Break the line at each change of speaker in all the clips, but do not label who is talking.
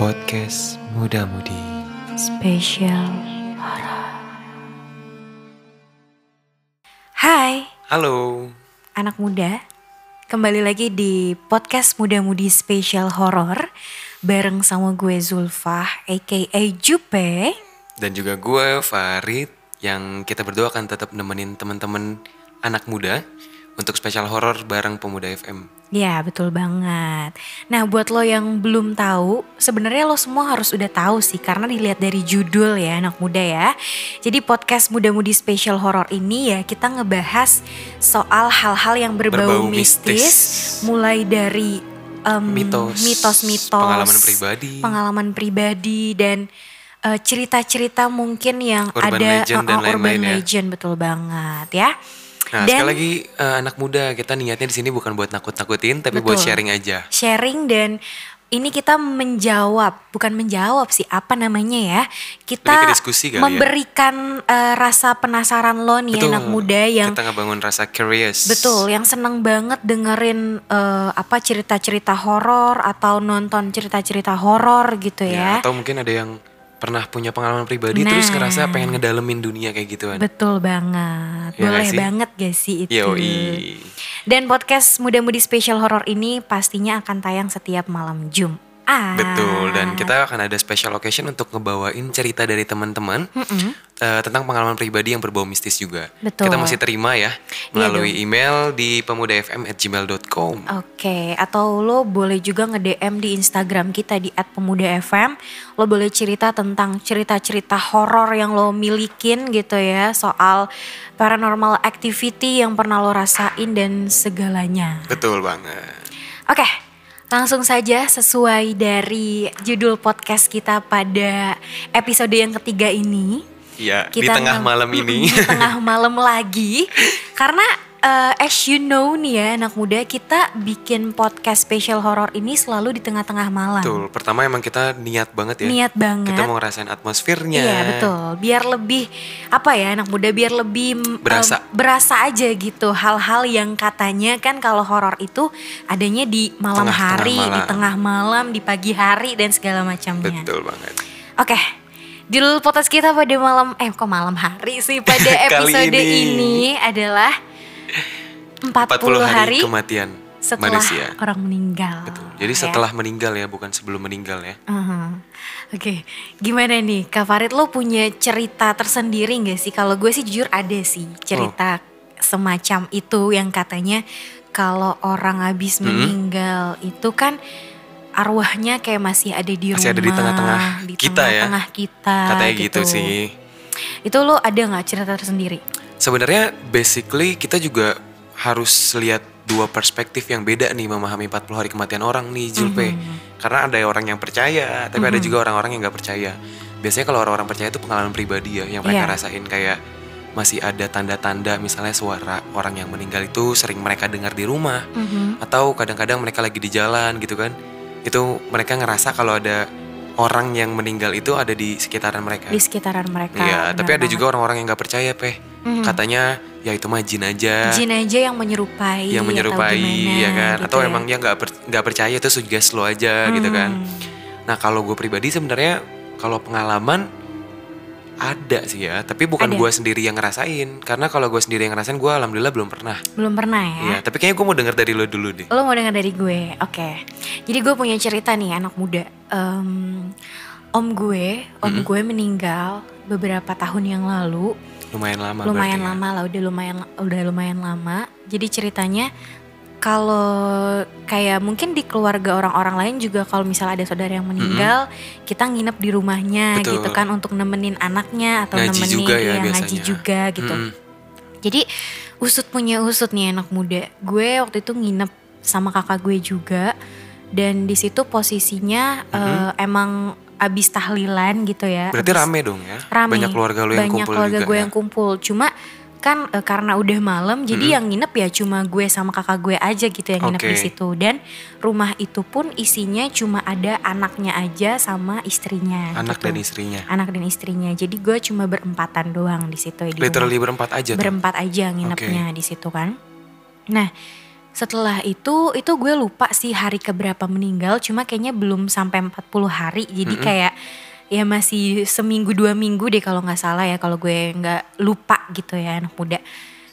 Podcast Muda Mudi
Spesial Horor. Hai,
Halo
anak muda. Kembali lagi di podcast Muda Mudi Spesial Horor bareng sama gue Zulfah aka Jupe.
Dan juga gue Farid Yang kita berdua akan tetap nemenin teman-teman anak muda Untuk spesial horor bareng Pemuda FM
Ya, betul banget. Nah, buat lo yang belum tahu, sebenarnya lo semua harus udah tahu sih karena dilihat dari judul ya, anak muda ya. Jadi podcast muda-mudi spesial horor ini ya kita ngebahas soal hal-hal yang berbau,
Berbau
mistis,
mistis.
mulai dari em,
Mitos
mitos-mitos,
Pengalaman pribadi
pengalaman pribadi dan eh, cerita-cerita mungkin yang
Urban
ada
legend dan
eh, eh, urban
lain-lain ya.
legend betul banget ya.
Nah
dan-
sekali lagi eh, anak muda kita niatnya di sini bukan buat nakut-nakutin Tapi buat
Betul.
sharing aja
sharing dan ini kita menjawab, bukan menjawab sih, apa namanya ya?
Lebih ke
Kita
diskusi kali ya.
memberikan eh, rasa penasaran lo nih Iya, anak muda yang
Kita ngebangun rasa curious
betul, yang seneng banget dengerin eh, apa cerita-cerita horor atau nonton cerita-cerita horor gitu
Ya,
ya.
atau mungkin ada yang pernah punya pengalaman pribadi
Nah.
terus ngerasa pengen ngedalemin dunia kayak gituan.
Betul banget,
Ya nggak
boleh
sih?
banget gak sih itu?
Yoi.
Dan podcast muda-mudi spesial horor ini pastinya akan tayang setiap malam Jumat.
Betul
Ah.
dan kita akan ada special occasion untuk ngebawain cerita dari teman-teman
Mm-mm.
eh, tentang pengalaman pribadi yang berbau mistis juga.
Betul.
Kita masih terima ya
Iya
melalui email di pemudafm@gmail.com.
Oke, atau lo boleh juga nge-DM di Instagram kita di @pemudafm. Lo boleh cerita tentang cerita-cerita horor yang lo milikin gitu ya, soal paranormal activity yang pernah lo rasain dan segalanya.
Betul banget.
Oke, langsung saja sesuai dari judul podcast kita pada episode yang ketiga ini.
Iya, di tengah
nge-
malam
Mm-mm,
ini.
di tengah malam lagi karena eh, as you know nih ya anak muda kita bikin podcast special horror ini selalu di tengah-tengah malam
Betul. Pertama emang kita niat banget ya.
niat banget
Kita mau ngerasain atmosfernya.
Iya betul, biar lebih apa ya anak muda biar lebih mm,
Berasa.
em, berasa aja gitu hal-hal yang katanya kan kalau horor itu adanya di malam
Tengah-tengah
hari, di
malam.
tengah malam, di pagi hari dan segala macamnya.
Betul banget.
Oke, judul podcast kita pada malam eh kok malam hari sih pada
Kali
episode ini.
ini.
adalah 40,
40
hari
hari kematian
setelah
manusia.
orang meninggal.
Betul. Jadi
ya.
setelah meninggal ya, bukan sebelum meninggal ya.
Aha. Oke, gimana nih Kak Farid lo punya cerita tersendiri gak sih? Kalau gue sih jujur ada sih
Hmm.
cerita semacam itu yang katanya kalau orang habis
Hmm.
meninggal itu kan arwahnya kayak masih ada di rumah.
Masih ada di tengah-tengah
di
kita ya.
tengah-tengah kita
Katanya gitu. sih.
Itu lo ada gak cerita tersendiri?
Sebenarnya basically kita juga harus lihat dua perspektif yang beda nih memahami 40 hari kematian orang nih Julpe. Karena ada orang yang percaya, tapi ada juga orang-orang yang nggak percaya. Biasanya kalau orang-orang percaya itu pengalaman pribadi ya yang mereka
Iya.
rasain kayak masih ada tanda-tanda misalnya suara orang yang meninggal itu sering mereka dengar di rumah atau kadang-kadang mereka lagi di jalan gitu kan. Itu mereka ngerasa kalau ada orang yang meninggal itu ada di sekitaran mereka.
Di sekitaran mereka.
Iya,
benar
tapi ada
banget.
juga orang-orang yang nggak percaya, Peh.
Mhm.
Katanya ya itu mah jin aja.
jin aja yang menyerupai
yang
atau
menyerupai
gimana
ya kan
gitu
atau
ya.
emang dia nggak per- nggak percaya itu sugest lo aja gitu kan
Hmm.
nah kalau gue pribadi sebenarnya kalau pengalaman ada sih ya tapi bukan
Ada.
gue sendiri yang ngerasain karena kalau gue sendiri yang ngerasain gue alhamdulillah belum pernah
belum pernah ya.
Iya, tapi kayaknya gue mau denger dari lo dulu deh
Lo mau dengar dari gue, oke. Jadi gue punya cerita nih anak muda. Em, om gue, om
Mm-mm.
gue meninggal beberapa tahun yang lalu.
lumayan lama
lumayan
berarti ya.
lama lah, udah lumayan udah lumayan lama. Jadi ceritanya kalau kayak mungkin di keluarga orang-orang lain juga kalau misalnya ada saudara yang meninggal, kita nginep di rumahnya
Betul.
gitu kan untuk nemenin anaknya atau
Ngaji
nemenin
juga ya
iya, ngaji
biasanya.
juga gitu.
Mm-mm.
Jadi usut punya usut nih anak muda. Gue waktu itu nginep sama kakak gue juga dan di situ posisinya
Mhm.
eh, emang abis tahlilan gitu ya.
berarti
abis-
rame dong ya
Rame.
banyak keluarga lo yang
banyak
kumpul
keluarga
juga
gue
ya.
yang kumpul. Cuma kan eh, karena udah malam jadi
Mhm.
yang nginep ya cuma gue sama kakak gue aja gitu yang nginep
Oke.
di situ dan rumah itu pun isinya cuma ada anaknya aja sama istrinya.
anak
gitu.
dan istrinya
anak dan istrinya. Jadi gue cuma berempatan doang di situ ya, di rumah
literally berempat aja tuh
berempat aja nginepnya di situ kan. Nah, Setelah itu itu gue lupa sih hari keberapa meninggal cuma kayaknya belum sampai 40 hari jadi
Mm-mm.
kayak ya masih seminggu dua minggu deh kalau nggak salah ya kalau gue nggak lupa gitu ya anak muda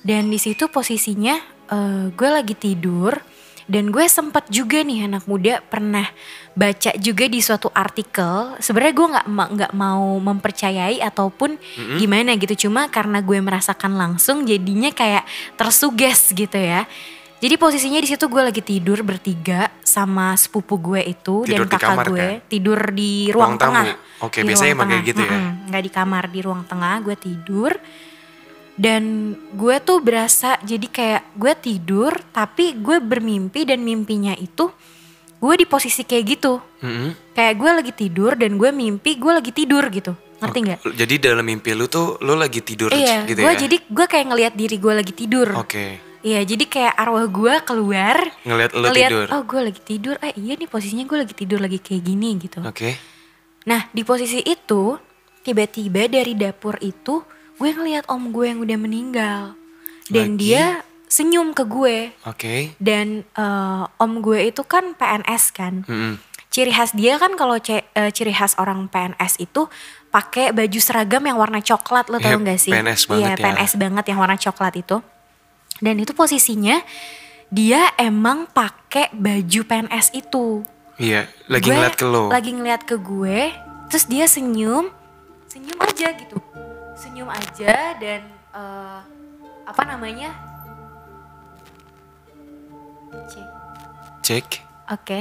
dan di situ posisinya eh, gue lagi tidur dan gue sempat juga nih anak muda pernah baca juga di suatu artikel sebenarnya gue nggak ma- nggak mau mempercayai ataupun
Mm-mm.
gimana gitu cuma karena gue merasakan langsung jadinya kayak tersuges gitu ya jadi posisinya di situ gue lagi tidur bertiga sama sepupu gue itu
Tidur
dan
di
kakak
kamar,
gue
kan?
tidur di ruang,
tamu.
tengah
Oke, biasanya emang kayak gitu ya.
Gak di kamar, di ruang tengah gue tidur. Dan gue tuh berasa jadi kayak gue tidur tapi gue bermimpi dan mimpinya itu gue di posisi kayak gitu.
Mm-mm.
Kayak gue lagi tidur dan gue mimpi gue lagi tidur gitu. Ngerti gak?
Jadi dalam mimpi lu tuh lu lagi tidur
Iya,
gitu
gue
ya.
jadi gue kayak ngelihat diri gue lagi tidur.
Oke.
Iya, jadi kayak arwah gue keluar,
Ngelihat lu
ngeliat,
tidur.
oh gue lagi tidur, eh iya nih posisinya gue lagi tidur lagi kayak gini gitu.
Oke.
Nah di posisi itu tiba-tiba dari dapur itu gue ngeliat om gue yang udah meninggal dan
Lagi?
dia senyum ke gue
Oke.
dan eh, om gue itu kan PNS kan
Mm-mm.
ciri khas dia kan kalau ce- eh, ciri khas orang PNS itu pakai baju seragam yang warna coklat lo tau
Yep,
gak sih?
PNS banget
Iya
ya.
PNS banget yang warna coklat itu. Dan itu posisinya dia emang pakai baju PNS itu
Iya, lagi
gue
ngeliat ke lu.
lagi ngeliat ke gue terus dia senyum senyum aja gitu senyum aja dan eh, apa namanya cek
Cek.
oke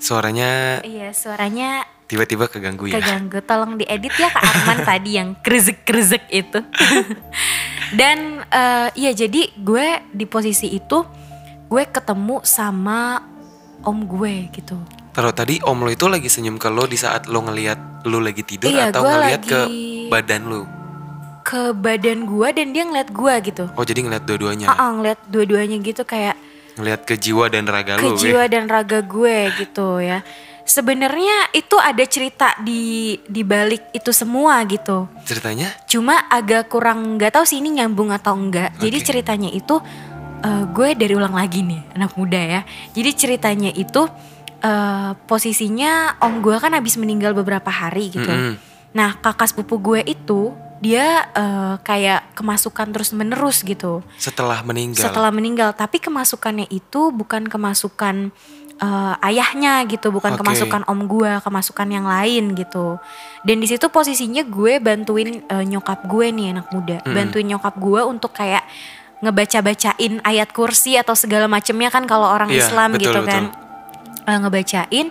Suaranya
iya suaranya
tiba-tiba keganggu ya.
keganggu tolong diedit ya kak Arman tadi yang krizek krizek itu dan eh, iya jadi gue di posisi itu gue ketemu sama om gue gitu
Taruh tadi om lo itu lagi senyum ke lo di saat lo ngeliat lo lagi tidur
Iya,
atau
gua
ngeliat
lagi-
ke badan lo.
ke badan gue dan dia ngeliat gue gitu
Oh jadi ngeliat dua-duanya.
Ah, ah, ngeliat dua-duanya gitu kayak
Ngeliat ke jiwa dan raga ya?
ke
lo. weh.
jiwa dan raga gue gitu ya. Sebenarnya itu ada cerita di di balik itu semua gitu.
Ceritanya?
Cuma agak kurang nggak tahu sih ini nyambung atau enggak. Jadi
Oke.
ceritanya itu eh, gue dari ulang lagi nih anak muda ya. Jadi ceritanya itu eh, posisinya om gue kan habis meninggal beberapa hari gitu.
Mm-mm.
Nah kakak sepupu gue itu dia eh, kayak kemasukan terus menerus gitu
Setelah meninggal.
setelah meninggal tapi kemasukannya itu bukan kemasukan eh, ayahnya gitu bukan
Oke.
kemasukan om gue kemasukan yang lain gitu dan di situ posisinya gue bantuin eh, nyokap gue nih anak muda
Mm-mm.
bantuin nyokap gue untuk kayak ngebaca-bacain ayat kursi atau segala macemnya kan kalau orang
Iya,
Islam
betul,
gitu kan Eh, ngebacain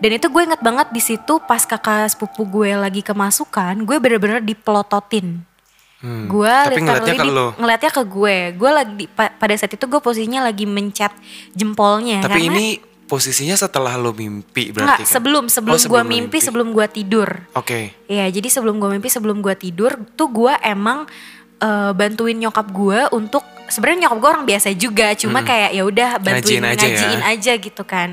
dan itu gue inget banget di situ pas kakak sepupu gue lagi kemasukan gue bener-bener dipelototin
Hmm,
gue
Tapi ngeliatnya
literally
ke
di-
lo.
ngeliatnya ke gue gue lagi di- pa- pada saat itu gue posisinya lagi mencet jempolnya
Tapi
karena
ini posisinya setelah lo mimpi
enggak,
berarti kan?
sebelum
Oh,
sebelum,
sebelum
gue mimpi,
mimpi.
sebelum gue tidur
Oke.
ya jadi sebelum gue mimpi sebelum gue tidur tuh gue emang eh, bantuin nyokap gue untuk sebenarnya nyokap gue orang biasa juga cuma
Mm.
kayak ya udah bantuin
Ngajiin aja ya.
ngajiin aja gitu kan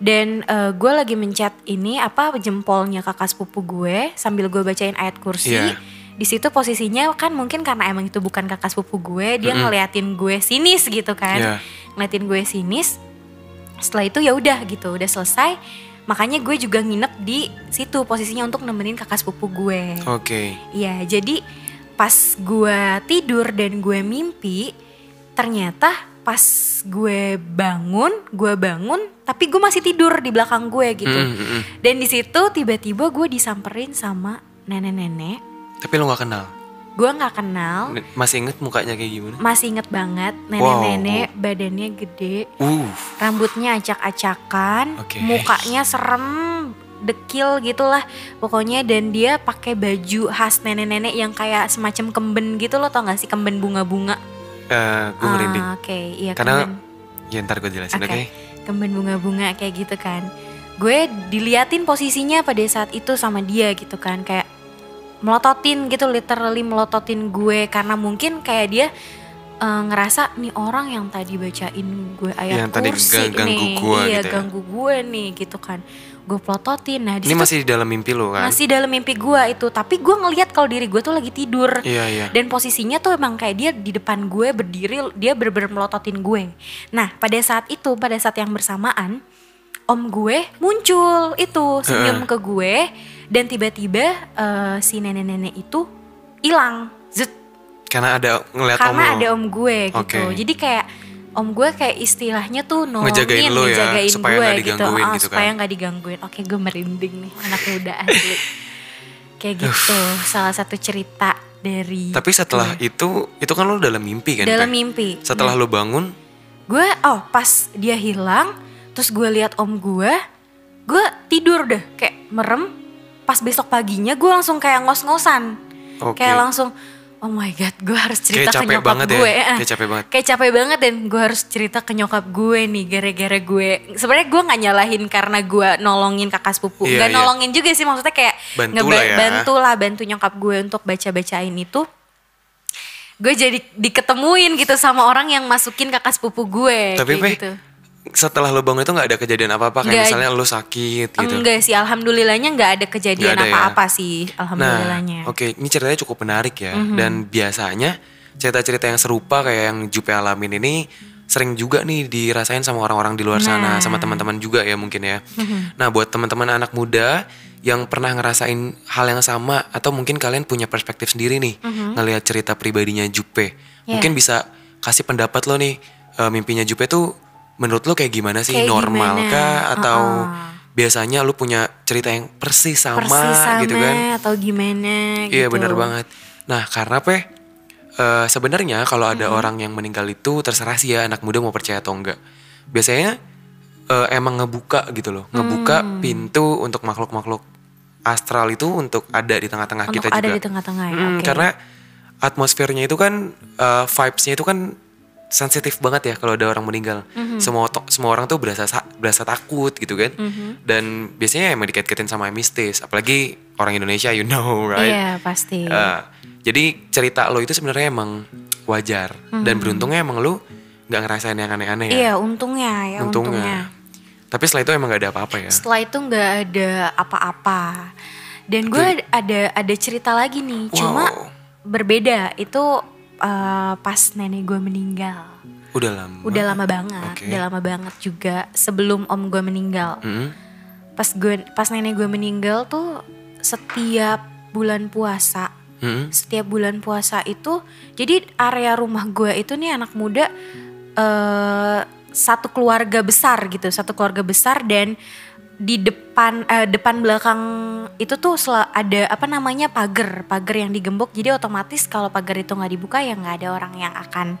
dan eh, gue lagi mencet ini apa jempolnya kakak sepupu gue sambil gue bacain ayat kursi
Iya.
di situ posisinya kan mungkin karena emang itu bukan kakak sepupu gue dia
Mm-mm.
ngeliatin gue sinis gitu
Iya.
kan ngeliatin gue sinis setelah itu ya udah gitu udah selesai makanya gue juga nginep di situ posisinya untuk nemenin kakak sepupu gue
Oke.
Iya, jadi pas gue tidur dan gue mimpi, ternyata pas gue bangun, gue bangun, tapi gue masih tidur di belakang gue gitu.
Mm, mm, mm.
Dan di situ tiba-tiba gue disamperin sama nenek-nenek,
Tapi lo gak kenal.
gue nggak kenal,
Masih inget mukanya kayak gimana?
masih inget banget nenek-nenek, badannya gede,
Uh.
rambutnya acak-acakan,
Oke.
mukanya serem, dekil gitulah pokoknya dan dia pakai baju khas nenek-nenek yang kayak semacam kemben gitu loh tau gak sih kemben bunga-bunga.
eh, gue
Ah,
merinding.
Oke, iya
Karena-
kemben,
Ya ntar gue jelasin, oke?
Oke. kemben bunga-bunga kayak gitu kan. Gue diliatin posisinya pada saat itu sama dia gitu kan kayak melototin gitu literally melototin gue karena mungkin kayak dia eh, ngerasa nih orang yang tadi bacain gue ayat
Yang tadi
kursi
gang- ganggu
nih
gue
iya
gitu ya.
ganggu gue nih gitu kan gue plototin. Nah, di
Ini
situ
masih di dalam mimpi lo kan?
masih dalam mimpi gue itu, tapi gue ngelihat kalau diri gue tuh lagi tidur.
Iya iya.
Dan posisinya tuh emang kayak dia di depan gue berdiri, dia bener-bener melototin gue. Nah pada saat itu, pada saat yang bersamaan, om gue muncul itu senyum ke gue dan tiba-tiba eh, si nenek-nenek itu hilang, Zut.
Karena ada ngeliat om
karena
lo.
ada om gue gitu.
Oke.
Jadi kayak om gue kayak istilahnya tuh nolongin,
Ngejagain lo ya,
ngejagain
supaya
gue
nggak
gitu,
digangguin
Ah,
gitu
supaya
kan.
nggak digangguin. Oke, gue merinding nih anak muda asli. kayak gitu, salah satu cerita dari
Tapi setelah itu, itu kan lo dalam mimpi kan?
Iya.
Teh?
dalam mimpi.
Setelah lo bangun,
Gue oh pas dia hilang, terus gue lihat om gue, gue tidur deh kayak merem. Pas besok paginya gue langsung kayak ngos-ngosan,
Oke.
kayak langsung oh my god gue harus
kayak
cerita ke
capek
nyokap
banget
gue.
ya.
Eh,
Kayak capek banget.
Kayak capek banget dan gue harus cerita ke nyokap gue nih gara-gara gue. Sebenarnya gue nggak nyalahin karena gue nolongin kakak sepupu,
Iya,
nggak
iya.
nolongin juga sih maksudnya kayak
Bantu
ngeba-
lah ya.
bantu lah, bantu nyokap gue untuk baca-bacain itu. Gue jadi diketemuin gitu sama orang yang masukin kakak sepupu gue.
Tapi
kayak
Peh,
gitu.
setelah lo bangun itu nggak ada kejadian apa-apa kayak
Nggak.
misalnya lo sakit gitu.
Enggak sih, alhamdulillahnya nggak ada kejadian
Nggak ada ya.
apa-apa sih,
Nah,
alhamdulillahnya. Mhm.
oke, ini ceritanya cukup menarik ya. Dan biasanya cerita-cerita yang serupa kayak yang Jupe alamin ini sering juga nih dirasain sama orang-orang di luar sana,
Nah. Mhm.
sama teman-teman juga ya mungkin ya. Nah, buat teman-teman anak muda yang pernah ngerasain hal yang sama atau mungkin kalian punya perspektif sendiri nih
Mhm.
ngelihat cerita pribadinya Jupe,
Iya.
mungkin bisa kasih pendapat lo nih e, mimpinya Jupe tuh menurut lo kayak gimana sih
Kayak
normal
gimana?
kah atau
Uh-uh.
biasanya lo punya cerita yang persis sama,
Persis sama
gitu kan?
atau gimana gitu.
Iya benar banget. Nah karena peh eh, sebenarnya kalau ada orang yang meninggal itu terserah sih ya anak muda mau percaya atau enggak. Biasanya eh, emang ngebuka gitu loh, ngebuka
Hmm.
pintu untuk makhluk-makhluk astral itu untuk ada di tengah-tengah
Untuk
Nah, kita
ada
juga.
di tengah-tengah ya.
Mm,
oke.
Karena atmosfernya itu kan eh, vibes-nya itu kan sensitif banget ya kalau ada orang meninggal.
Mm-hmm.
Semua to- semua orang tuh berasa sa- berasa takut gitu kan.
Mm-hmm.
Dan biasanya emang dikait-kaitin sama yang mistis, apalagi orang Indonesia you know right.
Iya pasti.
Eh, jadi cerita lo itu sebenarnya emang wajar dan beruntungnya emang lo nggak ngerasain yang aneh-aneh ya.
Hmm. Iya untungnya ya untungnya.
Tapi setelah itu emang nggak ada apa-apa ya.
Setelah itu nggak ada apa-apa. Dan gue ada ada cerita lagi nih, cuma
Wow.
berbeda itu eh, pas nenek gue meninggal.
Udah lama.
Udah lama banget,
Oke. Hmm.
udah lama banget juga sebelum om gue meninggal.
Mm-mm.
Pas gue pas nenek gue meninggal tuh setiap bulan puasa
Mm-mm.
setiap bulan puasa itu jadi area rumah gue itu nih anak muda eh satu keluarga besar gitu satu keluarga besar dan di depan eh, depan belakang itu tuh sel- ada apa namanya pagar pagar yang digembok jadi otomatis kalau pagar itu nggak dibuka ya nggak ada orang yang akan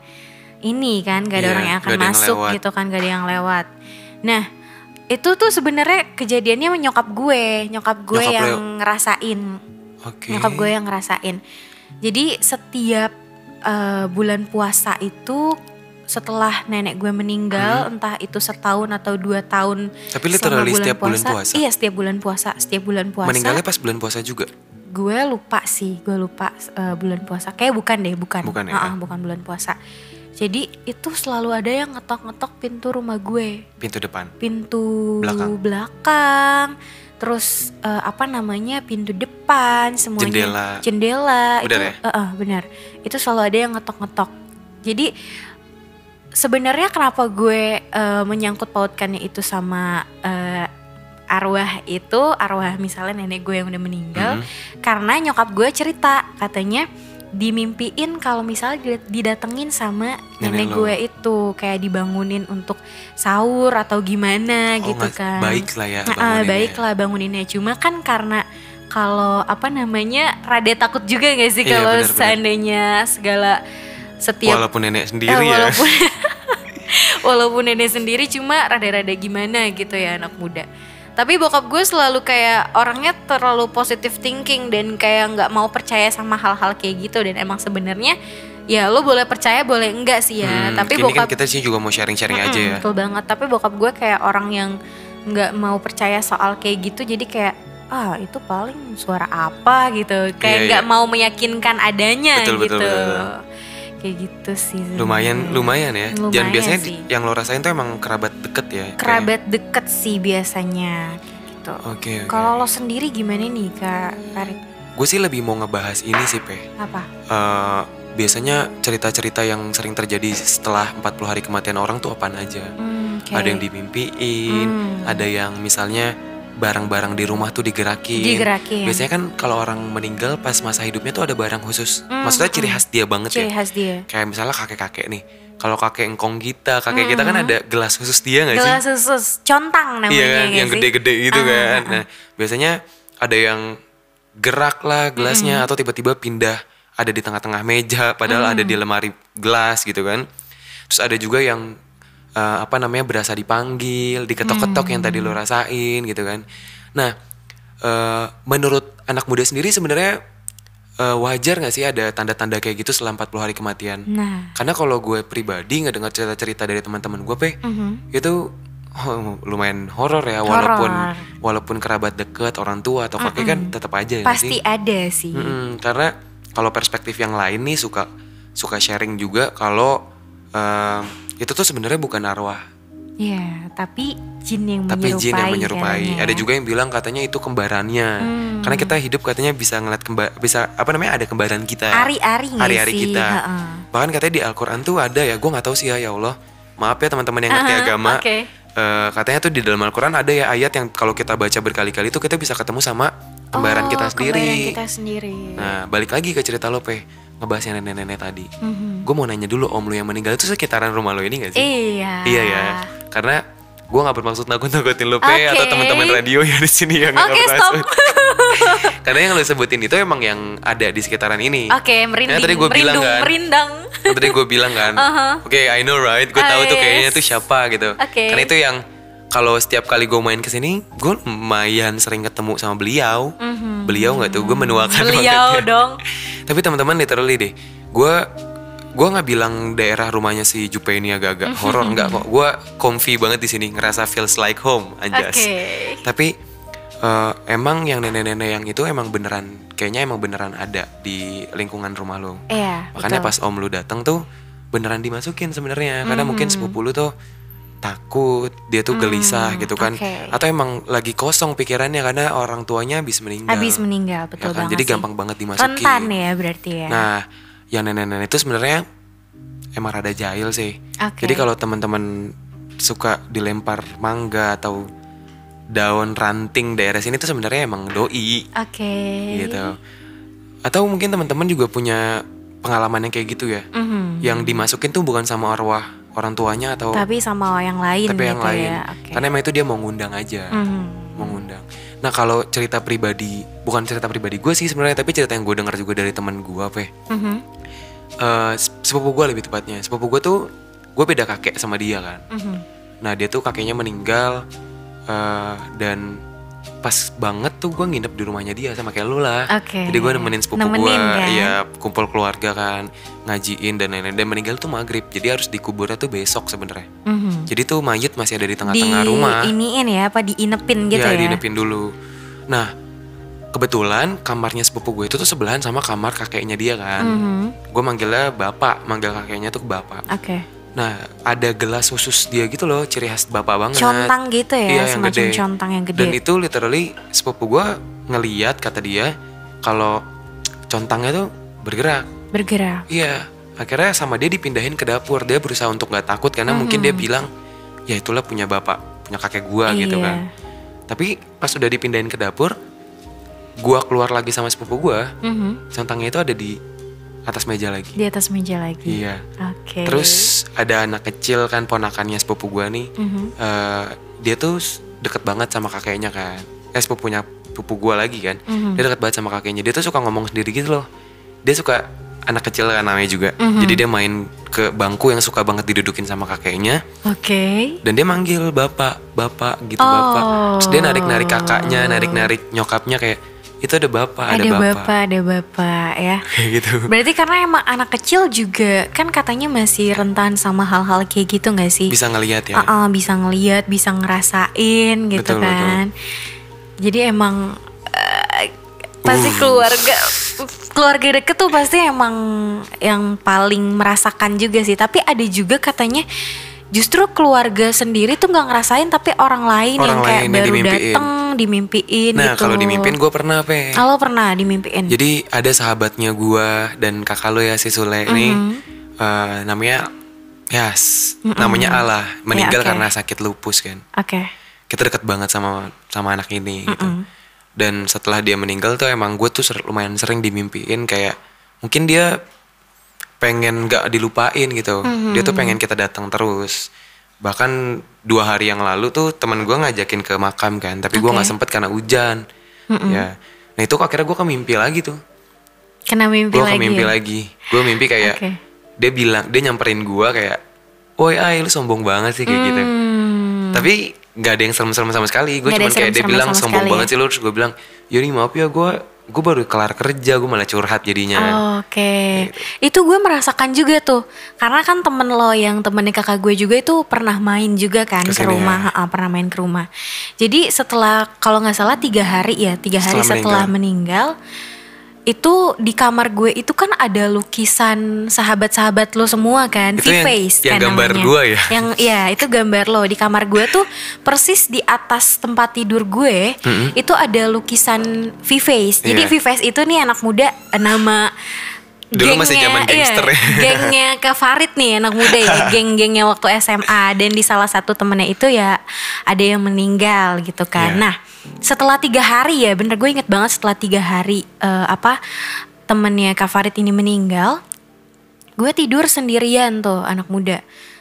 ini kan nggak ada
Iya,
orang yang akan
nggak ada yang
masuk
lewat.
gitu kan gak ada yang lewat nah itu tuh sebenarnya kejadiannya menyokap gue nyokap gue
Nyokap lo-
yang ngerasain
Oke.
nyokap gue yang ngerasain. Jadi setiap eh, bulan puasa itu setelah nenek gue meninggal, entah itu setahun atau dua tahun.
Hmm. Tapi
selama
literally setiap bulan puasa?
Iya setiap bulan puasa, setiap bulan puasa.
Meninggalnya pas bulan puasa juga.
Gue lupa sih, gue lupa eh, bulan puasa. Kayak bukan deh, bukan.
Bukan ya?
Ah, ah, bukan bulan puasa. Jadi itu selalu ada yang ngetok-ngetok pintu rumah gue
Pintu depan.
pintu
Belakang.
belakang, terus eh, apa namanya pintu depan semuanya
Jendela.
jendela itu
Benar ya?
eh, eh, benar itu selalu ada yang ngetok-ngetok jadi sebenarnya kenapa gue eh, menyangkut pautkannya itu sama eh, arwah itu arwah misalnya nenek gue yang udah meninggal
Mhm.
karena nyokap gue cerita katanya dimimpiin kalau misalnya dida- didatengin sama
Nenek
nenek
lo.
gue itu kayak dibangunin untuk sahur atau gimana
Oh,
gitu
nggak-
kan
Baik lah ya.
Nah, ah,
banguninnya.
baik lah banguninnya cuma kan karena kalau apa namanya rada takut juga gak sih
Iya,
kalau
benar-benar.
seandainya segala setiap
Walaupun nenek
Eh,
sendiri ya.
walaupun walaupun nenek sendiri cuma rada-rada gimana gitu ya anak muda. Tapi bokap gue selalu kayak orangnya terlalu positive thinking dan kayak nggak mau percaya sama hal-hal kayak gitu dan emang sebenarnya ya lo boleh percaya boleh enggak sih ya.
Hmm,
Tapi
ini
bokap
kan kita sih juga mau sharing-sharing aja
Mm-mm,
ya.
Betul banget. Tapi bokap gue kayak orang yang nggak mau percaya soal kayak gitu. Jadi kayak ah itu paling suara apa gitu. Kayak
Iya,
nggak
iya.
mau meyakinkan adanya
Betul,
gitu.
betul, betul.
Kayak gitu sih.
Lumayan,
sebenarnya.
lumayan ya. Dan
Lumayan
biasanya
sih.
yang lo rasain tuh emang kerabat deket ya. kayaknya.
kerabat deket sih biasanya. gitu.
Oke, oke.
Kalau lo sendiri gimana nih Kak Farid?
Gue sih lebih mau ngebahas ini sih, Pe.
Apa?
Eh, biasanya cerita-cerita yang sering terjadi setelah 40 hari kematian orang tuh apaan aja?
Hmm, oke.
Ada yang dimimpiin,
Hmm.
ada yang misalnya barang-barang di rumah tuh digerakin.
digerakin.
Biasanya kan kalau orang meninggal pas masa hidupnya tuh ada barang khusus.
Hmm,
Maksudnya ciri
hmm.
khas dia banget
ciri
ya.
khas dia.
Kayak misalnya kakek-kakek nih. Kalau kakek engkong kita, kakek kita kan ada gelas khusus dia gak sih?
Hmm. Gelas susus, contang namanya
Iya kan,
nggak
yang
sih?
gede-gede gitu
Ah,
kan.
ah, ah.
Nah, biasanya ada yang gerak lah gelasnya atau tiba-tiba pindah ada di tengah-tengah meja padahal ada di lemari gelas gitu kan. Terus ada juga yang eh, apa namanya berasa dipanggil, diketok-ketok yang tadi
Mm.
lo rasain gitu kan. Nah, eh, menurut anak muda sendiri sebenarnya eh, wajar nggak sih ada tanda-tanda kayak gitu selama 40 hari kematian?
Nah,
Karena kalau gue pribadi nggak dengar cerita-cerita dari teman-teman gue, pe, itu oh, lumayan horor ya, walaupun walaupun kerabat deket, orang tua atau kakek kan tetap aja ya nggak sih.
pasti
Hmm.
ada sih.
Mm-mm, karena kalau perspektif yang lain nih suka suka sharing juga kalau em, itu tuh sebenarnya bukan arwah,
Ya, tapi jin yang
tapi
menyerupai.
jin yang menyerupai.
katanya
Ada
ya. Hmm.
juga yang bilang katanya itu kembarannya, karena kita hidup katanya bisa ngeliat kembar, bisa apa namanya ada kembaran kita
Ari-ari nggak
hari-hari
sih?
kita.
Heeh.
Bahkan katanya di Al-Quran tuh ada ya, gue nggak tahu sih ya ya Allah. Maaf ya teman-teman yang ngerti
Aha,
agama.
oke.
Eh, katanya tuh di dalam Al-Quran ada ya ayat yang kalau kita baca berkali-kali tuh kita bisa ketemu sama kembaran
Oh,
kita
kembaran
sendiri.
kita sendiri.
Nah balik lagi ke cerita lo Pe, ngebahas yang nenek-nenek tadi.
Mhm.
Gue mau nanya dulu om lo yang meninggal itu sekitaran rumah lo ini gak sih?
Iya.
Iya ya, karena gue nggak bermaksud nakut-nakutin lo Pe atau
Oke.
teman-teman radio yang di sini yang nggak
Oke, stop.
bermaksud. karena yang lo sebutin itu emang yang ada di sekitaran ini.
Oke, merinding.
Karena tadi gue bilang
merindung,
kan,
merindang.
Kan tadi gue bilang kan, oke I know right, gue tahu
Ah,
tuh
Uh-huh. yes.
kayaknya tuh siapa gitu.
Oke.
Karena itu yang kalau setiap kali gue main kesini, gue lumayan sering ketemu sama beliau. Beliau nggak tuh, gue menuakan
Mhm. Beliau
banget ya.
dong.
Tapi teman-teman literally deh, gue gue nggak bilang daerah rumahnya si Jupe ini agak-agak horor nggak kok. Gue comfy banget di sini, ngerasa feels like home, anjas.
Oke.
Tapi eh, emang yang nenek-nenek yang itu emang beneran, kayaknya emang beneran ada di lingkungan rumah lo.
Iya.
Makanya
betul.
pas om lu datang tuh beneran dimasukin sebenarnya karena mungkin
Hmm.
sepupu lu tuh takut dia tuh gelisah gitu kan
oke.
atau emang lagi kosong pikirannya karena orang tuanya habis meninggal.
habis meninggal
Ya
betul
kan?
banget.
Jadi
sih.
gampang banget dimasukin.
Rentan ya berarti ya.
Nah, yang nenek-nenek itu sebenarnya emang rada jahil sih.
Oke.
Jadi kalau teman-teman suka dilempar mangga atau daun ranting daerah sini tuh sebenarnya emang doi
Oke.
gitu. Atau mungkin teman-teman juga punya pengalaman yang kayak gitu ya.
Mhm.
Yang dimasukin tuh bukan sama arwah orang tuanya atau tapi,
Tapi sama yang lain
yang
gitu
lain.
ya. Oke.
Karena emang itu dia mau ngundang aja,
Mhm.
mau ngundang. Nah, kalau cerita pribadi, bukan cerita pribadi gue sih sebenarnya, tapi cerita yang gue dengar juga dari teman gue, Pe.
Mhm.
Eh, se- sepupu gue lebih tepatnya. Sepupu gue tuh gue beda kakek sama dia kan.
Mhm.
Nah, dia tuh kakeknya meninggal eh, dan pas banget tuh gue nginep di rumahnya dia sama kayak lu lah.
Oke.
Jadi gue nemenin sepupu gue,
Nemenin, kan?
iya kumpul keluarga kan, ngajiin dan lain-lain. Dan meninggal tuh maghrib, jadi harus dikuburnya tuh besok sebenarnya.
Mhm.
Jadi tuh mayit masih ada di
Di
tengah-tengah rumah.
iniin ya apa diinepin gitu ya.
ya, diinepin dulu. Nah, kebetulan kamarnya sepupu gue itu tuh sebelahan sama kamar kakeknya dia kan.
Mhm.
Gue manggilnya bapak, manggil kakeknya tuh bapak.
Oke.
Nah, ada gelas khusus dia gitu loh, ciri khas bapak banget.
Contang gitu ya,
Iya, yang
semacam
gede.
contang yang gede.
Dan itu literally sepupu gue ngeliat kata dia kalau contangnya tuh bergerak.
Bergerak.
Iya, akhirnya sama dia dipindahin ke dapur. Dia berusaha untuk nggak takut karena mungkin dia bilang, ya itulah punya bapak, punya kakek gua gitu
Iya.
kan. Tapi pas udah dipindahin ke dapur, gua keluar lagi sama sepupu gua,
Mhm.
centangnya itu ada di atas meja lagi.
Di atas meja lagi.
Iya.
Oke.
Terus ada anak kecil kan ponakannya sepupu gua nih.
Mhm.
Eh, dia tuh s- deket banget sama kakeknya kan. Eh sepupunya sepupu gua lagi kan.
Mhm.
Dia deket banget sama kakeknya. Dia tuh suka ngomong sendiri gitu loh. Dia suka anak kecil kan namanya juga.
Mhm.
Jadi dia main ke bangku yang suka banget didudukin sama kakeknya
Oke.
dan dia manggil bapak, bapak gitu
Oh.
bapak. Terus dia narik-narik kakaknya, narik-narik nyokapnya kayak itu ada bapak, ada,
Ada,
bapak.
bapak, ada bapak ya.
Kayak gitu.
Berarti karena emang anak kecil juga kan katanya masih rentan sama hal-hal kayak gitu nggak sih?
Bisa ngelihat ya.
Uh-uh, bisa ngeliat, bisa ngerasain gitu
Betul,
kan. Jadi emang eh, pasti
Uh.
keluarga keluarga deket tuh pasti emang yang paling merasakan juga sih. Tapi ada juga katanya justru keluarga sendiri tuh nggak ngerasain tapi orang lain
Orang
yang kayak
lain yang
baru
dimimpiin.
dateng dimimpiin
Nah
gitu.
kalau dimimpin gue pernah pe.
Kalau pernah dimimpiin.
Jadi ada sahabatnya gua dan kakak lo ya si Sule ini
Mm-hmm.
eh, namanya Yas, namanya Allah meninggal
Ya, oke.
karena sakit lupus kan.
Oke.
Kita deket banget sama sama anak ini gitu. Dan setelah dia meninggal tuh emang gue tuh ser- lumayan sering dimimpiin kayak mungkin dia pengen gak dilupain gitu.
Mm-hmm.
Dia tuh pengen kita datang terus. Bahkan dua hari yang lalu tuh teman gua ngajakin ke makam kan, tapi gua
Oke.
nggak sempet karena hujan. Ya, nah itu akhirnya gue mimpi lagi tuh
Kena
gue
mimpi lagi.
mimpi
ya?
lagi gue mimpi kayak
Oke.
dia bilang dia nyamperin gue kayak woi ay lu sombong banget sih kayak gitu
Hmm.
tapi nggak ada yang serem-serem sama sekali gue
Nggak ada
cuman
yang
kayak dia
serem-serem
bilang
sama
sombong
sekali ya?
banget sih lu terus gue bilang yaudah maaf ya gue gue baru kelar kerja gue malah curhat jadinya
Oh. Oke,
gitu.
itu gue merasakan juga tuh, karena kan temen lo yang temennya kakak gue juga itu pernah main juga kan ke
Kesini ya.
rumah, Ah, pernah main ke rumah. Jadi setelah kalau nggak salah tiga hari ya, tiga hari
Setelah
setelah meninggal, itu di kamar gue itu kan ada lukisan sahabat-sahabat lo semua kan,
Itu yang-
V-face
yang
kan
gambar
namanya.
gue ya?
Yang ya itu gambar lo di kamar gue tuh persis di atas tempat tidur gue, itu ada lukisan V-face. Jadi
Iya.
Vives itu nih anak muda eh, nama
Dulu masih zaman
iya,
gangster ya.
gengnya Kak Farid nih anak muda ya, geng-gengnya waktu SMA dan di salah satu temennya itu ya ada yang meninggal gitu
Iya.
kan. Nah setelah tiga hari ya, bener gue inget banget setelah tiga hari eh, apa temennya Kak Farid ini meninggal, gue tidur sendirian tuh anak muda.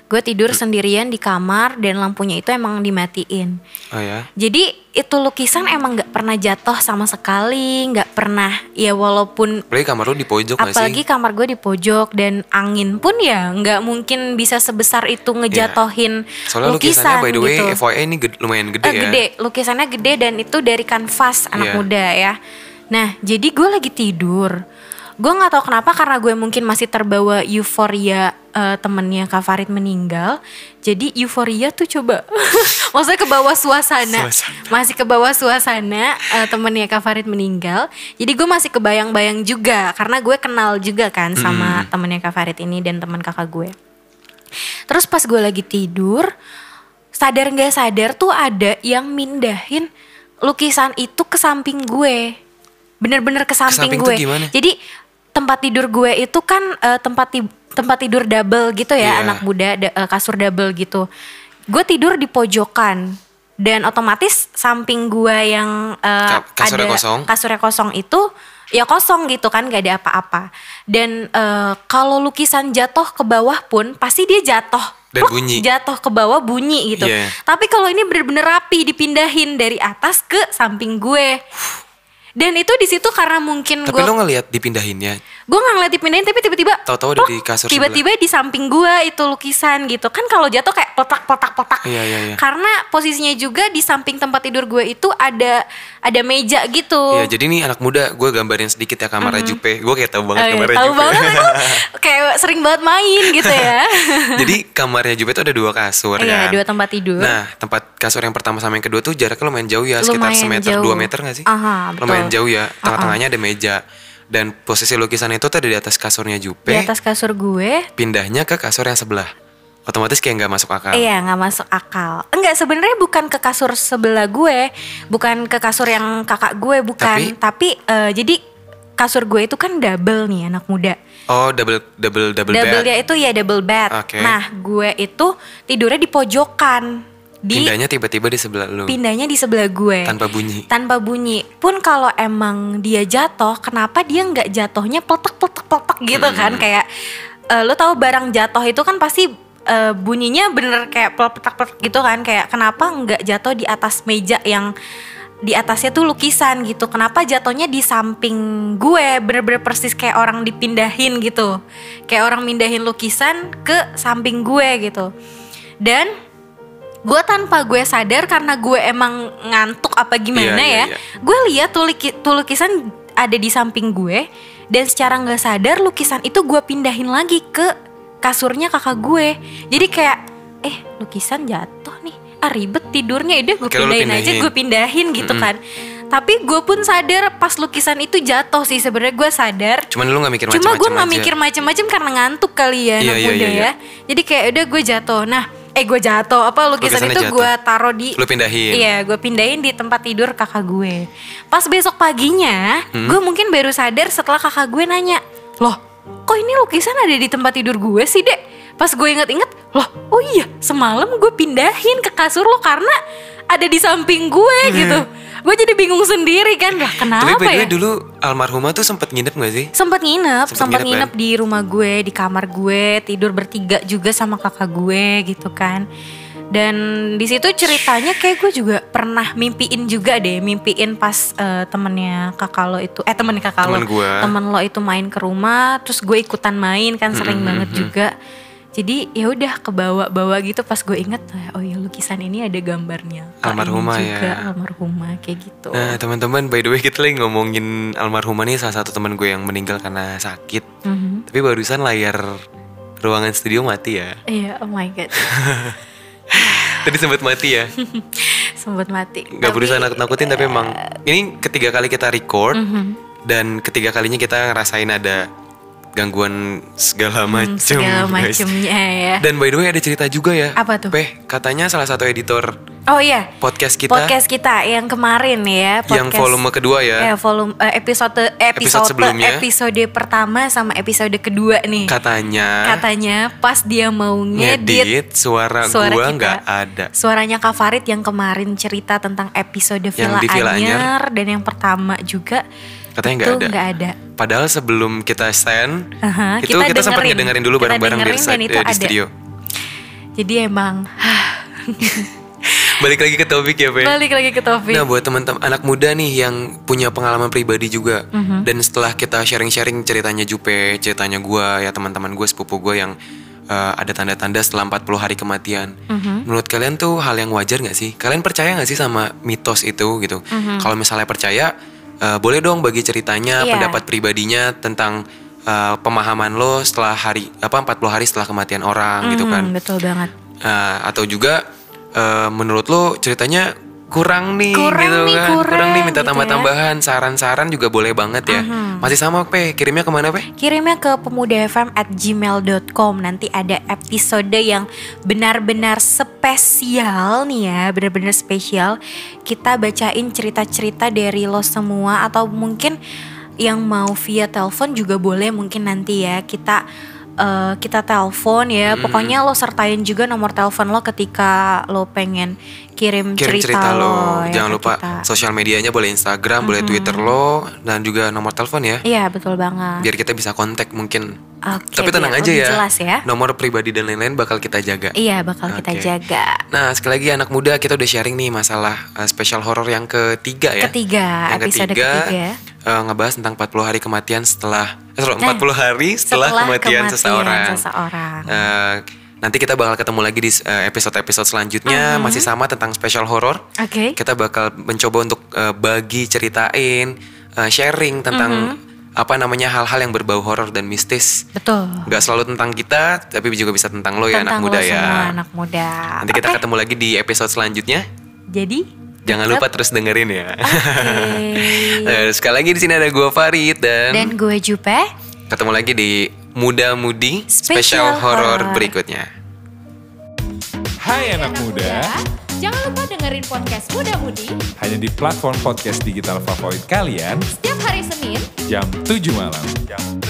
Gue tidur sendirian di kamar dan lampunya itu emang dimatiin.
oh ya
Jadi itu lukisan emang nggak pernah jatuh sama sekali, nggak pernah ya walaupun
apalagi kamar lu di pojok nggak
apalagi
sih
kamar gue di pojok dan angin pun ya nggak mungkin bisa sebesar itu ngejatohin
Iya. soalnya lukisannya
lukisan
by the way
gitu.
FYI ini ged- lumayan gede
Eh,
ya
gede, lukisannya gede dan itu dari kanvas anak
Iya.
muda ya. Nah, jadi gue lagi tidur. Gue nggak tahu kenapa karena gue mungkin masih terbawa euforia eh, temennya Kak Farid meninggal. Jadi euforia tuh coba, maksudnya ke bawah suasana,
Suasana.
masih ke bawah suasana eh, temennya Kak Farid meninggal. Jadi gue masih kebayang-bayang juga karena gue kenal juga kan sama temennya Kak Farid ini dan teman kakak gue. Terus pas gue lagi tidur, sadar nggak sadar tuh ada yang mindahin lukisan itu ke samping gue. Bener-bener ke samping,
samping tuh
gue.
gimana?
Jadi tempat tidur gue itu kan eh, tempat ti- tempat tidur double gitu
Iya.
ya, anak muda da- eh, kasur double gitu. Gue tidur di pojokan dan otomatis samping gue yang
Ka-
eh,
kasurnya
ada
kosong.
kasurnya kosong itu ya kosong gitu kan gak ada apa-apa dan eh, kalau lukisan jatuh ke bawah pun pasti dia jatuh
Dan
Pluk,
bunyi.
jatuh ke bawah bunyi gitu
Iya.
tapi kalau ini bener-bener rapi dipindahin dari atas ke samping gue dan itu di situ karena mungkin
tapi
gue
lu ngelihat dipindahinnya
gue nggak ngeliat dipindahin tapi tiba-tiba
Tahu-tahu ada
pluk,
di kasur
tiba-tiba di samping gue itu lukisan gitu kan kalau jatuh kayak potak potak potak
Iya, iya, iya.
karena posisinya juga di samping tempat tidur gue itu ada ada meja gitu
ya jadi nih anak muda gue gambarin sedikit ya kamarnya Jupe gue kayak tahu banget
Oh, iya,
kamarnya
tahu
Jupe
banget aku kayak sering banget main gitu ya
Jadi kamarnya Jupe itu ada dua kasur
iya
kan.
dua tempat tidur
Nah tempat kasur yang pertama sama yang kedua tuh jaraknya lumayan jauh ya sekitar
Lumayan
semeter
jauh.
dua meter gak sih?
Aha, betul.
Lumayan jauh ya. Tengah-tengahnya ada meja dan posisi lukisan itu tadi di atas kasurnya Jupe.
di atas kasur gue
Pindahnya ke kasur yang sebelah. Otomatis kayak nggak masuk akal.
Iya nggak masuk akal. Enggak sebenarnya bukan ke kasur sebelah gue, bukan ke kasur yang kakak gue bukan. Tapi,
Tapi-
eh, jadi kasur gue itu kan double nih anak muda.
Oh double double double,
Double
bed.
dia itu ya double bed.
Oke.
Nah gue itu tidurnya di pojokan, di
Pindahnya tiba-tiba di sebelah lu
pindahnya di sebelah gue.
tanpa bunyi.
Tanpa bunyi pun kalau emang dia jatuh, kenapa dia nggak jatuhnya peletak peletak peletak gitu
Hmm.
kan? Kayak eh, lo tahu barang jatuh itu kan pasti eh, bunyinya bener kayak peletak peletak gitu kan? Kayak kenapa nggak jatuh di atas meja yang di atasnya tuh lukisan gitu? Kenapa jatuhnya di samping gue? Bener-bener persis kayak orang dipindahin gitu, kayak orang mindahin lukisan ke samping gue gitu. Dan gue tanpa gue sadar karena gue emang ngantuk apa
Iya,
gimana
iya,
ya
iya.
gue lihat tuh liki- tuh lukisan ada di samping gue dan secara nggak sadar lukisan itu gue pindahin lagi ke kasurnya kakak gue jadi kayak eh lukisan jatuh nih ah ribet tidurnya udah gue
Kayak lu
pindahin aja
pindahin.
gue pindahin gitu kan tapi gue pun sadar pas lukisan itu jatuh sih sebenarnya gue sadar
Cuman lu nggak mikir
Cuma
macam-macam
gue nggak
aja.
mikir macem-macem karena ngantuk kali ya anak
Iya, iya,
muda
iya,
ya. Jadi kayak udah gue jatuh. Nah eh gue jatuh apa lukisan
Lukisannya
itu
jatuh.
gue taruh di
Lu pindahin.
Iya, gue pindahin di tempat tidur kakak gue. Pas besok paginya,
Hmm?
gue mungkin baru sadar setelah kakak gue nanya, loh, kok ini lukisan ada di tempat tidur gue sih dek? Pas gue inget-inget, loh, oh iya, semalam gue pindahin ke kasur lo karena ada di samping gue gitu. Gue jadi bingung sendiri kan, lah
Hmm. Tapi
kenapa
by the
ya?
way dulu almarhumah tuh sempet nginep gak sih?
Sempet nginep,
Sempet
sempet
nginep, kan?
nginep di rumah gue, di kamar gue, tidur bertiga juga sama kakak gue gitu kan. Dan di situ ceritanya kayak gue juga pernah mimpiin juga deh, mimpiin pas eh, temennya kakak lo itu, eh temen kakak
Temen
lo,
gue.
temen lo itu main ke rumah, terus gue ikutan main kan sering banget juga. Jadi ya udah kebawa-bawa gitu pas gue inget, oh ya lukisan ini ada gambarnya. Kak ini
Almarhumah ya.
juga, Almarhumah kayak gitu.
Nah teman-teman by the way kita lagi ngomongin almarhumah nih salah satu teman gue yang meninggal karena sakit.
Mhm.
Tapi barusan layar ruangan studio mati ya.
Iya, oh my god.
Tadi sempat mati ya.
Sempet mati.
Gak
Tapi- ya.
berusaha nakut-nakutin tapi emang ini ketiga kali kita record
Mm-hmm.
dan ketiga kalinya kita ngerasain ada gangguan segala macam.
Mm, Hmm, segala
guys.
macemnya ya.
Dan by the way ada cerita juga ya.
Apa tuh?
Peh, katanya salah satu editor
Oh iya,
podcast kita
podcast kita yang kemarin ya, podcast,
yang volume kedua ya.
eh, volume eh, episode episode
sebelumnya.
episode pertama sama episode kedua nih.
Katanya,
Katanya pas dia mau ngedit
ngedit ya. suara,
suara
gua
kita.
nggak ada.
Suaranya Kak Farid yang kemarin cerita tentang episode Villa
Yang di Villa
Anyer dan yang pertama juga
Katanya nggak
itu
ada.
nggak ada.
Padahal sebelum kita stand,
Aha,
itu kita, sempat
dengerin.
ngedengerin dulu
Kita
bareng-bareng di,
dengerin dan
eh,
itu
di
ada.
studio.
Jadi emang
Balik lagi ke topik ya, Pe.
balik lagi ke topik.
Nah, buat teman-teman anak muda nih yang punya pengalaman pribadi juga.
Mhm.
Dan setelah kita sharing-sharing ceritanya Jupe, ceritanya gua ya teman-teman gue, sepupu gue yang eh, ada tanda-tanda setelah 40 hari kematian.
Mhm.
Menurut kalian tuh hal yang wajar nggak sih? Kalian percaya nggak sih sama mitos itu gitu? Kalau misalnya percaya, eh, boleh dong bagi ceritanya,
Mhm. Iya.
pendapat pribadinya tentang eh, pemahaman lo setelah hari apa 40 hari setelah kematian orang gitu
Mhm,
kan.
Betul banget.
Eh, atau juga eh, menurut lo ceritanya kurang nih
Kurang
gitu
nih,
kan
kurang
nih minta
gitu ya. Mhm.
tambah-tambahan saran-saran juga boleh banget ya masih sama pe kirimnya kemana pe
Kirimnya ke pemudafm at gmail.com Nanti ada episode yang benar-benar spesial nih ya Benar-benar spesial Kita bacain cerita-cerita dari lo semua Atau mungkin yang mau via telepon juga boleh mungkin nanti ya Kita eh, kita telepon ya
Hmm.
Pokoknya lo sertain juga nomor telepon lo ketika lo pengen kirim,
kirim cerita,
cerita,
lo
ya
jangan
ke
lupa
kita. Mhm.
sosial medianya boleh Instagram boleh Twitter lo dan juga nomor telepon ya
Iya betul banget
biar kita bisa kontak mungkin
Oke,
tapi tenang
biar
aja
lebih
ya
jelas ya
nomor pribadi dan lain-lain bakal kita jaga
Iya bakal kita
Oke.
jaga
nah sekali lagi anak muda kita udah sharing nih masalah eh, spesial horor yang ketiga ya
ketiga
yang
Ah, episode
ketiga,
ketiga
eh, ngebahas tentang 40 hari kematian setelah eh, sorry,
Nah,
40 hari setelah, kematian, seseorang.
seseorang.
Eh, nanti kita bakal ketemu lagi di eh, episode-episode selanjutnya masih sama tentang special horror.
Mm-hmm. Oke.
Kita bakal mencoba untuk eh, bagi ceritain, eh, sharing tentang
Mm-hmm.
apa namanya hal-hal yang berbau horor dan mistis.
Betul.
Nggak selalu tentang kita, tapi juga bisa tentang lo ya anak
Tentang
muda
lo
ya.
semua anak muda.
Nanti kita
Oke,
ketemu lagi di episode selanjutnya.
Jadi
Jangan
tetap-
lupa terus dengerin ya.
Oke.
Eh, sekali lagi di sini ada gua Farid dan,
Dan gue Jupe.
ketemu lagi di Muda Mudi
Special
Special
Horror.
Horror berikutnya.
Hai anak muda,
Jangan lupa dengerin podcast Muda Mudi
hanya di platform podcast digital favorit kalian
setiap hari Senin
jam 7 malam. Jam 7